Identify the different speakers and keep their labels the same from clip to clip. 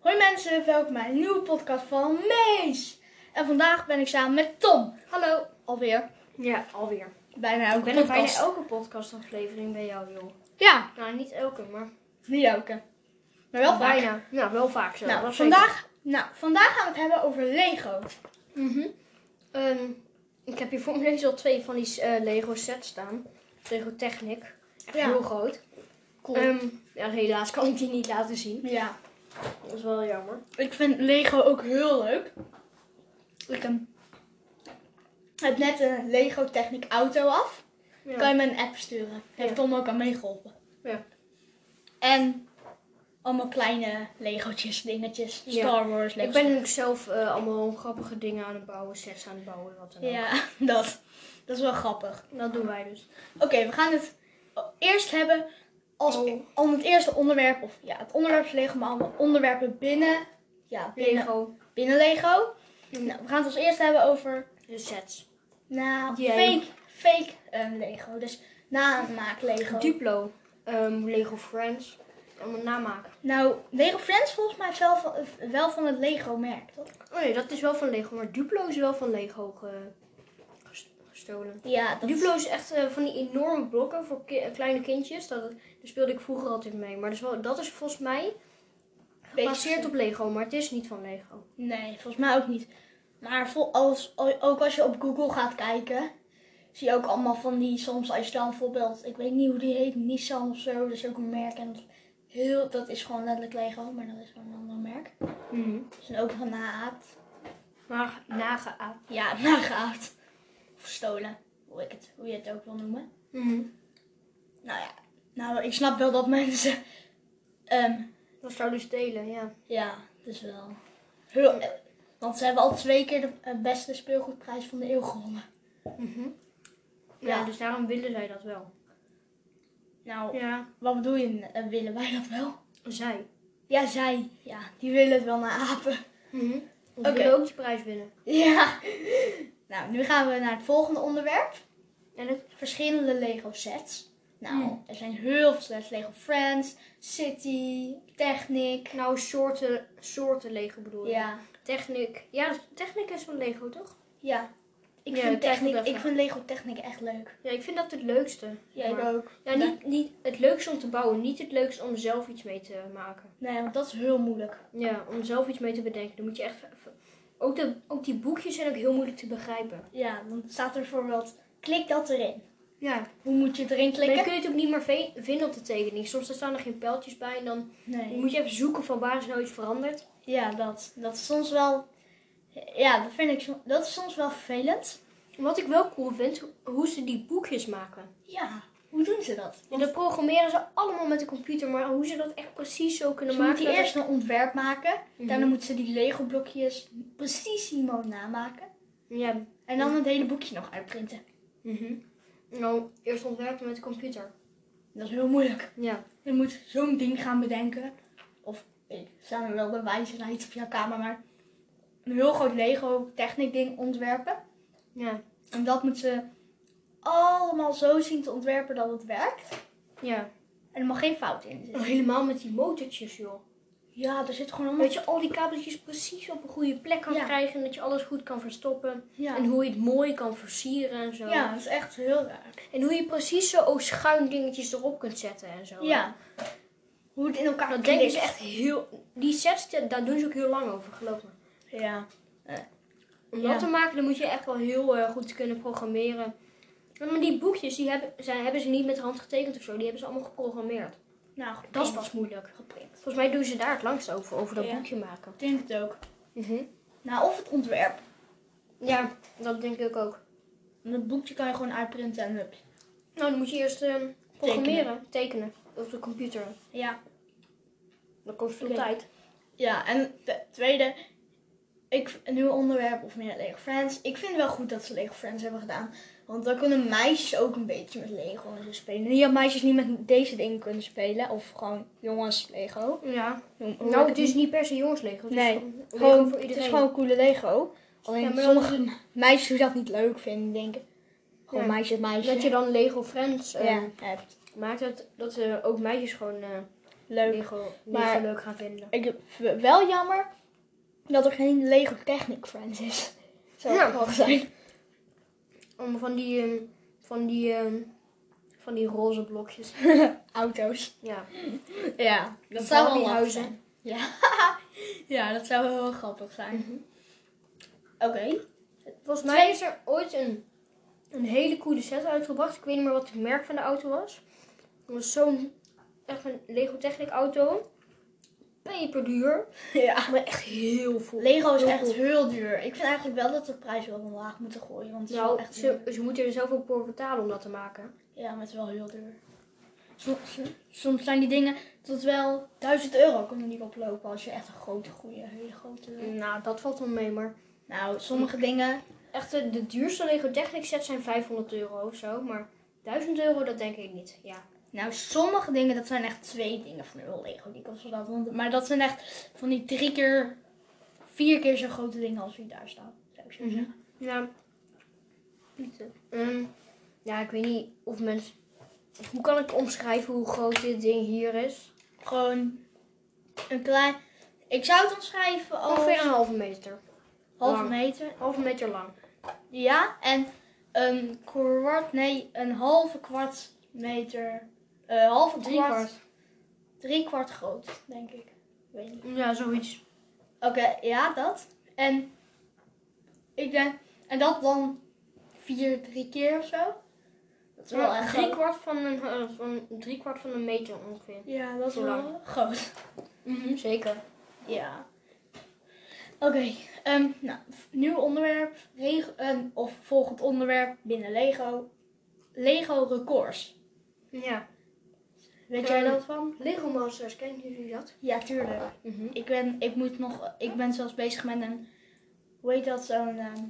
Speaker 1: Hoi mensen, welkom bij een nieuwe podcast van Mees. En vandaag ben ik samen met Tom. Hallo. Alweer.
Speaker 2: Ja, alweer.
Speaker 1: Bijna elke
Speaker 2: Ik ben er
Speaker 1: podcast.
Speaker 2: bijna elke podcastaflevering bij jou, joh.
Speaker 1: Ja,
Speaker 2: Nou, niet elke, maar
Speaker 1: niet elke. Maar wel vaak.
Speaker 2: bijna. Nou, wel vaak zo.
Speaker 1: Nou,
Speaker 2: dat
Speaker 1: vandaag, nou, vandaag gaan we het hebben over Lego.
Speaker 2: zeker. Mhm. Ehm, ik heb hier voor me deze al twee van die eh, Lego sets staan. Lego Technic. Echt
Speaker 1: Ja.
Speaker 2: heel groot.
Speaker 1: Cool.
Speaker 2: Ehm, ja, helaas kan ik die niet laten zien.
Speaker 1: ja,
Speaker 2: Dat is wel jammer.
Speaker 1: ik vind Lego ook heel leuk. Ik ehm, heb net een Lego Technic auto af.
Speaker 2: Ja.
Speaker 1: kan je me een app sturen. Heeft
Speaker 2: Ja.
Speaker 1: Tom ook aan meegeholpen.
Speaker 2: Ja.
Speaker 1: En allemaal kleine legootjes, dingetjes,
Speaker 2: Ja.
Speaker 1: Star Wars, Lego.
Speaker 2: Ik ben natuurlijk zelf eh, allemaal grappige dingen aan het bouwen, sets aan het bouwen, wat dan ook.
Speaker 1: Ja, dat. Dat is wel grappig.
Speaker 2: Dat doen wij dus.
Speaker 1: Oké, we gaan het eerst hebben als
Speaker 2: Oh.
Speaker 1: om het eerste onderwerp. Of ja, het onderwerp is Lego, maar allemaal onderwerpen binnen. Ja, binnen Lego.
Speaker 2: Lego
Speaker 1: Binnen Lego.
Speaker 2: Mm.
Speaker 1: Nou, we gaan het als eerste hebben over
Speaker 2: eh, sets.
Speaker 1: nou,
Speaker 2: Jij.
Speaker 1: fake, fake eh, Lego. Dus namaak Lego.
Speaker 2: Duplo. Ehm, Lego Friends. Allemaal namaken.
Speaker 1: Nou, Lego Friends volgens mij is wel van, wel van het Lego merk, toch?
Speaker 2: Oh nee, dat is wel van Lego, maar Duplo is wel van Lego ge- ges- gestolen.
Speaker 1: Ja, dat
Speaker 2: Duplo is echt eh, van die enorme blokken voor ki- eh, kleine kindjes. Dat, daar speelde ik vroeger altijd mee. Maar dat is, wel, dat is volgens mij gebaseerd op Lego, maar het is niet van Lego.
Speaker 1: Nee, volgens mij ook niet. Maar vol, als, ook als je op Google gaat kijken, zie je ook allemaal van die, soms als je dan bijvoorbeeld, ik weet niet hoe die heet, Nissan of zo, dat is ook een merk. En dat, heel, dat is gewoon letterlijk Lego, maar dat is gewoon een ander merk. Ze zijn ook van nageaapt.
Speaker 2: Mhm. Maar nageaat.
Speaker 1: Ja, nageaapt. Of gestolen, hoe, ik het, hoe je het ook wil noemen.
Speaker 2: Mhm.
Speaker 1: Nou ja, nou, ik snap wel dat mensen... ehm,
Speaker 2: Dat zou dus delen, ja.
Speaker 1: Ja, dus wel. Heel, eh, want ze hebben al twee keer de eh, beste speelgoedprijs van de eeuw gewonnen.
Speaker 2: Mhm. ja.
Speaker 1: Ja.
Speaker 2: dus daarom willen zij dat wel.
Speaker 1: Nou,
Speaker 2: Ja.
Speaker 1: wat bedoel je? eh, willen wij dat wel?
Speaker 2: Zij.
Speaker 1: Ja, zij. Ja, die willen het wel naar apen.
Speaker 2: Oké.
Speaker 1: Oké.
Speaker 2: Mhm. willen ook die prijs winnen.
Speaker 1: Ja. Nou, nu gaan we naar het volgende onderwerp.
Speaker 2: En het...
Speaker 1: Verschillende Lego sets. Nou,
Speaker 2: Hmm.
Speaker 1: er zijn heel veel sets. Lego Friends, City, Technic.
Speaker 2: Nou, soorten, soorten Lego bedoel je?
Speaker 1: Ja.
Speaker 2: Technic. Ja, Technic is van Lego, toch?
Speaker 1: Ja. Ik,
Speaker 2: Ja,
Speaker 1: vind,
Speaker 2: Technic
Speaker 1: technic,
Speaker 2: even.
Speaker 1: ik vind Lego Technic echt leuk.
Speaker 2: Ja, ik vind dat het leukste.
Speaker 1: Jij
Speaker 2: Maar-
Speaker 1: ook.
Speaker 2: Ja, niet, niet het leukste om te bouwen, niet het leukste om zelf iets mee te maken.
Speaker 1: Nee, nou want dat is heel moeilijk.
Speaker 2: Ja, om zelf iets mee te bedenken, dan moet je echt... Ook, de, ook die boekjes zijn ook heel moeilijk te begrijpen.
Speaker 1: Ja, dan staat er bijvoorbeeld, klik dat erin.
Speaker 2: Ja.
Speaker 1: Hoe moet je het erin
Speaker 2: Maar je
Speaker 1: klikken?
Speaker 2: kunt het ook niet meer ve- vinden op de tekening. Soms er staan er geen pijltjes bij en dan
Speaker 1: Nee.
Speaker 2: moet je even zoeken van waar is nou iets veranderd.
Speaker 1: Ja, dat, dat is soms wel... Ja, dat vind ik som- dat is soms wel vervelend.
Speaker 2: Wat ik wel cool vind, ho- hoe ze die boekjes maken.
Speaker 1: Ja, hoe doen ze dat?
Speaker 2: En dat programmeren ze allemaal met de computer, maar hoe ze dat echt precies zo kunnen
Speaker 1: Ze
Speaker 2: maken...
Speaker 1: moeten
Speaker 2: dat-
Speaker 1: eerst een ontwerp maken.
Speaker 2: Mhm.
Speaker 1: Daarna moeten ze die Lego blokjes precisimo namaken.
Speaker 2: Mhm. Ja.
Speaker 1: En dan het hele boekje nog uitprinten.
Speaker 2: mhm. Nou, eerst ontwerpen met de computer.
Speaker 1: Dat is heel moeilijk.
Speaker 2: Ja.
Speaker 1: Je moet zo'n ding gaan bedenken. Of, ik staan er wel bewijzen naar iets op jouw kamer, maar... Een heel groot Lego technic ding ontwerpen.
Speaker 2: Ja.
Speaker 1: En dat moeten ze allemaal zo zien te ontwerpen dat het werkt.
Speaker 2: Ja.
Speaker 1: En er mag geen fout in
Speaker 2: Oh,
Speaker 1: zitten.
Speaker 2: helemaal met die motortjes, joh.
Speaker 1: Ja, er zit gewoon allemaal...
Speaker 2: Dat je al die kabeltjes precies op een goede plek kan
Speaker 1: Ja.
Speaker 2: krijgen. En dat je alles goed kan verstoppen.
Speaker 1: Ja.
Speaker 2: En hoe je het mooi kan versieren en zo.
Speaker 1: ja, dat is echt heel raar.
Speaker 2: En hoe je precies zo ook schuin dingetjes erop kunt zetten en zo. Nou,
Speaker 1: Ja. dus Hoe het in elkaar
Speaker 2: Dat denken
Speaker 1: klikt.
Speaker 2: ze echt heel... Die sets, die- daar doen ze ook heel lang over, geloof me.
Speaker 1: Ja.
Speaker 2: Om
Speaker 1: Ja.
Speaker 2: dat te maken, dan moet je echt wel heel eh, goed kunnen programmeren. Ja, Maar die boekjes, die hebben, zijn, hebben ze niet met de hand getekend of zo. Die hebben ze allemaal geprogrammeerd.
Speaker 1: Nou,
Speaker 2: Dat is pas moeilijk.
Speaker 1: geprint.
Speaker 2: Volgens mij doen ze daar het langst over, over dat
Speaker 1: Ja.
Speaker 2: boekje maken.
Speaker 1: Ik denk het ook.
Speaker 2: Mhm.
Speaker 1: Nou, of het ontwerp.
Speaker 2: Ja, dat denk ik ook.
Speaker 1: Want het boekje kan je gewoon uitprinten en hup.
Speaker 2: Nou, dan moet je eerst ehm, programmeren, tekenen. op de computer.
Speaker 1: Ja.
Speaker 2: Dan kost veel
Speaker 1: Oké.
Speaker 2: tijd.
Speaker 1: Ja, en de tweede... Ik, een nieuw onderwerp of meer Lego Friends. Ik vind wel goed dat ze Lego Friends hebben gedaan. Want dan kunnen meisjes ook een beetje met Lego en zo spelen. Ja, meisjes niet met deze dingen kunnen spelen. Of gewoon jongens Lego.
Speaker 2: Ja.
Speaker 1: Noem- hoe ik
Speaker 2: Nou, het is niet per se jongenslego. Het
Speaker 1: Nee.
Speaker 2: is gewoon, Lego
Speaker 1: Gewoon,
Speaker 2: voor
Speaker 1: het
Speaker 2: iedereen.
Speaker 1: is gewoon een coole Lego. Alleen
Speaker 2: Ja, maar dan-
Speaker 1: sommige meisjes die dat niet leuk vinden, denken gewoon
Speaker 2: Ja.
Speaker 1: meisjes, meisjes.
Speaker 2: Dat je dan Lego Friends eh,
Speaker 1: ja, hebt.
Speaker 2: maakt, dat, dat eh, ook meisjes gewoon eh,
Speaker 1: leuk.
Speaker 2: Lego niet
Speaker 1: Maar-
Speaker 2: zo leuk gaan vinden.
Speaker 1: Ik vind het wel jammer dat er geen Lego Technic Friends is. Zou
Speaker 2: Ja.
Speaker 1: ik wel zijn.
Speaker 2: Om van die, ehm, van die, ehm, van die roze blokjes.
Speaker 1: Auto's.
Speaker 2: Ja.
Speaker 1: Ja,
Speaker 2: dat
Speaker 1: dat zou
Speaker 2: zou wel
Speaker 1: wel
Speaker 2: lachen
Speaker 1: huizen.
Speaker 2: zijn.
Speaker 1: Ja. ja, dat zou wel grappig zijn. Oké.
Speaker 2: Volgens mij is er ooit een, een hele coole set uitgebracht. Ik weet niet meer wat het merk van de auto was. Het was zo'n echt een Lego Technic auto. Peperduur.
Speaker 1: Ja.
Speaker 2: Maar echt heel veel.
Speaker 1: Lego is
Speaker 2: Heel
Speaker 1: echt
Speaker 2: veel.
Speaker 1: heel duur. Ik vind eigenlijk wel dat ze de prijs wel omlaag moeten gooien. Want het is wel
Speaker 2: Nou,
Speaker 1: echt
Speaker 2: ze,
Speaker 1: duur.
Speaker 2: ze moeten er zelf ook voor betalen om dat te maken.
Speaker 1: Ja, maar het is wel heel duur. Soms, soms zijn die dingen tot wel 1000 euro kunnen die oplopen als je echt een grote, goede, hele grote...
Speaker 2: Nou, dat valt wel mee, maar
Speaker 1: Nou, sommige dingen
Speaker 2: echt de, de duurste Lego Technic set zijn 500 euro of zo. Maar 1000 euro, dat denk ik niet. Ja.
Speaker 1: Nou, sommige dingen, dat zijn echt twee dingen van heel Lego. Die kosten dat honderd. Maar dat zijn echt van die drie keer, vier keer zo grote dingen als die daar staan. Zou ik zo
Speaker 2: Mhm.
Speaker 1: zeggen.
Speaker 2: Ja. Ehm, ja, ik weet niet of mensen. Hoe kan ik omschrijven hoe groot dit ding hier is?
Speaker 1: Gewoon een klein... Ik zou het omschrijven als
Speaker 2: Ongeveer een halve meter.
Speaker 1: halve
Speaker 2: lang.
Speaker 1: meter.
Speaker 2: Halve meter lang.
Speaker 1: Ja, en een kwart, nee, een halve kwart meter. eh halve
Speaker 2: Drie kwart.
Speaker 1: Drie kwart groot, denk ik. Ik Weet niet.
Speaker 2: Ja, zoiets.
Speaker 1: Oké, ja, dat. En ik denk, en dat dan vier, drie keer of zo. Dat is wel
Speaker 2: Ja,
Speaker 1: echt
Speaker 2: drie
Speaker 1: groot.
Speaker 2: kwart van een, eh, van, drie kwart van een meter ongeveer.
Speaker 1: Ja, dat is
Speaker 2: Zo
Speaker 1: wel
Speaker 2: lang.
Speaker 1: groot.
Speaker 2: Hm, Zeker.
Speaker 1: Ja. Oké, ehm, nou, v- nieuw onderwerp, reg- en- of volgend onderwerp binnen Lego. Lego records.
Speaker 2: Ja.
Speaker 1: Weet jij
Speaker 2: Ehm.
Speaker 1: dat van?
Speaker 2: Lego Masters, kennen jullie dat?
Speaker 1: Ja, tuurlijk.
Speaker 2: Mhm.
Speaker 1: Ik ben, ik moet nog, ik ben zelfs bezig met een, hoe heet dat, zo'n ehm,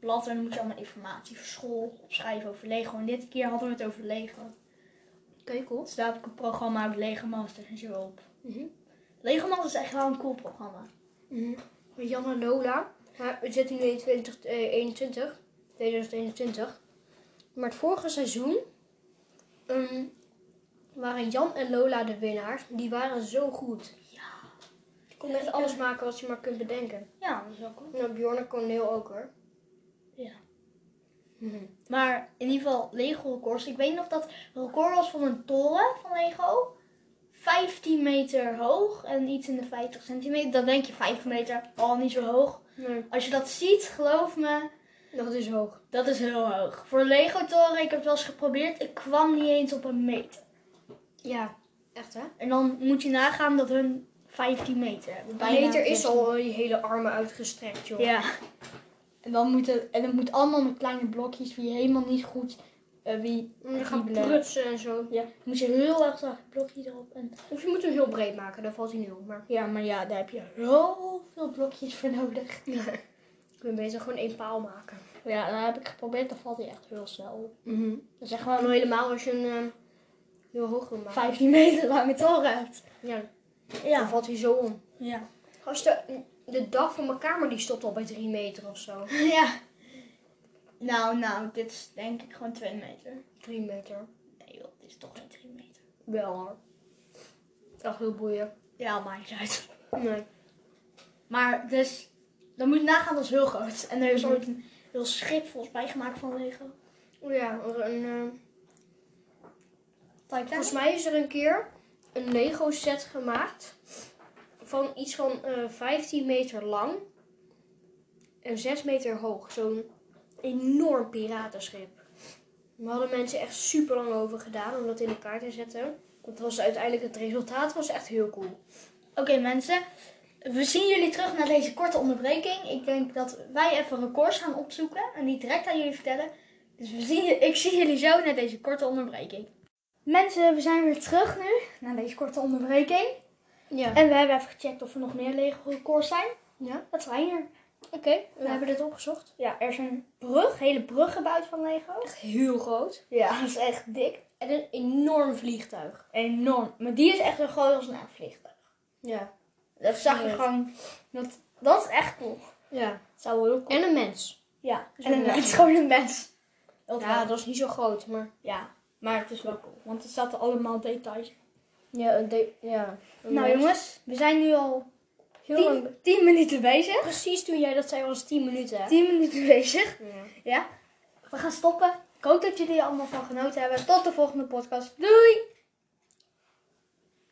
Speaker 1: blad. En dan moet je allemaal informatie voor school opschrijven over Lego. En dit keer hadden we het over Lego.
Speaker 2: Oké, cool.
Speaker 1: Dus daar heb ik een programma uit Lego Masters en zo op.
Speaker 2: Mhm.
Speaker 1: Lego Masters is echt wel een cool programma.
Speaker 2: Jan en Lola. Maar we zitten nu in eh, 2021. 2021. Maar het vorige seizoen ehm, waren Jan en Lola de winnaars. Die waren zo goed.
Speaker 1: Ja.
Speaker 2: Je kon echt alles maken wat je maar kunt bedenken.
Speaker 1: Ja, dat is wel cool.
Speaker 2: Nou, Bjorn en Corneel ook hoor. Mhm.
Speaker 1: Ja. Maar in ieder geval Lego records. Ik weet nog dat het record was van een toren van Lego. 15 meter hoog en iets in de 50 centimeter. Dan denk je 5 meter, al niet zo hoog.
Speaker 2: Nee,
Speaker 1: Als je dat ziet, geloof me,
Speaker 2: dat is hoog.
Speaker 1: Dat is heel hoog. Voor Lego toren, ik heb het wel eens geprobeerd. Ik kwam niet eens op een meter.
Speaker 2: Ja, echt hè?
Speaker 1: En dan moet je nagaan dat hun 15 meter hebben.
Speaker 2: Een meter is al eh, die hele armen uitgestrekt joh.
Speaker 1: Ja. En dan moet het, en het moet allemaal met kleine blokjes wie helemaal niet goed... eh, wie,
Speaker 2: Je gaat
Speaker 1: die beleven.
Speaker 2: prutsen en zo.
Speaker 1: Ja, dan moet je heel erg zacht blokje erop. En,
Speaker 2: Of je moet hem heel breed maken, dan valt hij niet op. Maar
Speaker 1: ja, maar ja, daar heb je heel veel blokjes voor nodig.
Speaker 2: ik ben beter gewoon één paal maken.
Speaker 1: Ja, dat heb ik geprobeerd. Dan valt hij echt heel snel op. Dat is echt
Speaker 2: Maar
Speaker 1: gewoon
Speaker 2: nou
Speaker 1: een
Speaker 2: helemaal als je een eh, heel hoog wil maken.
Speaker 1: 15 meter lange toren hebt.
Speaker 2: Ja, dan
Speaker 1: Ja.
Speaker 2: valt hij zo om.
Speaker 1: Ja.
Speaker 2: Als de, de dag van mijn kamer die stopt al bij 3 meter of zo.
Speaker 1: Ja. Nou, nou, dit is denk ik gewoon 2 meter.
Speaker 2: 3 meter.
Speaker 1: Nee joh, dit is toch geen 3 meter.
Speaker 2: Wel hoor. Echt heel boeien.
Speaker 1: Ja, maakt niet uit.
Speaker 2: Nee.
Speaker 1: Maar dus, dan moet je nagaan, dat is heel groot. En er is ooit een heel schip volgens mij gemaakt van Lego.
Speaker 2: Oh ja, er een, eh, volgens
Speaker 1: Titanic?
Speaker 2: mij is er een keer een Lego set gemaakt. Van iets van eh 15 meter lang. En 6 meter hoog. Zo'n enorm piratenschip. We hadden mensen echt super lang over gedaan om dat in elkaar te zetten. Dat was uiteindelijk het resultaat was echt heel cool.
Speaker 1: Oké mensen, we zien jullie terug na deze korte onderbreking. Ik denk dat wij even records gaan opzoeken en die direct aan jullie vertellen. Dus we zien, je- ik zie jullie zo na deze korte onderbreking. Mensen, we zijn weer terug nu, na deze korte onderbreking.
Speaker 2: Ja.
Speaker 1: En we hebben even gecheckt of er nog meer lege records zijn.
Speaker 2: Ja.
Speaker 1: Dat zijn er.
Speaker 2: Oké, we
Speaker 1: Ja.
Speaker 2: hebben dit opgezocht.
Speaker 1: Ja, er is een brug, hele brug gebouwd van Lego.
Speaker 2: Echt heel groot.
Speaker 1: Ja, dat is echt dik.
Speaker 2: En een enorm vliegtuig.
Speaker 1: Enorm. Maar die is echt zo groot als een aanvliegtuig.
Speaker 2: Ja.
Speaker 1: Dat zag je
Speaker 2: Nee.
Speaker 1: gewoon. Dat, dat is echt cool.
Speaker 2: Ja.
Speaker 1: Dat zou wel heel cool.
Speaker 2: En een mens.
Speaker 1: Ja,
Speaker 2: is
Speaker 1: en een
Speaker 2: wel
Speaker 1: mens.
Speaker 2: cool.
Speaker 1: Gewoon een mens. Dat
Speaker 2: Ja,
Speaker 1: wel.
Speaker 2: dat is niet zo groot, maar...
Speaker 1: ja, maar het is wel cool. Want er zaten allemaal details.
Speaker 3: Ja, een de- ja. een
Speaker 1: Nou
Speaker 3: mes.
Speaker 1: jongens, we zijn nu al
Speaker 3: Heel lang.
Speaker 1: 10, 10 minuten bezig.
Speaker 2: Precies toen jij dat zei was 10 minuten. hè?
Speaker 1: 10 minuten bezig.
Speaker 2: Ja.
Speaker 1: Ja. We gaan stoppen. Ik hoop dat jullie er allemaal van genoten hebben. Tot de volgende podcast. Doei!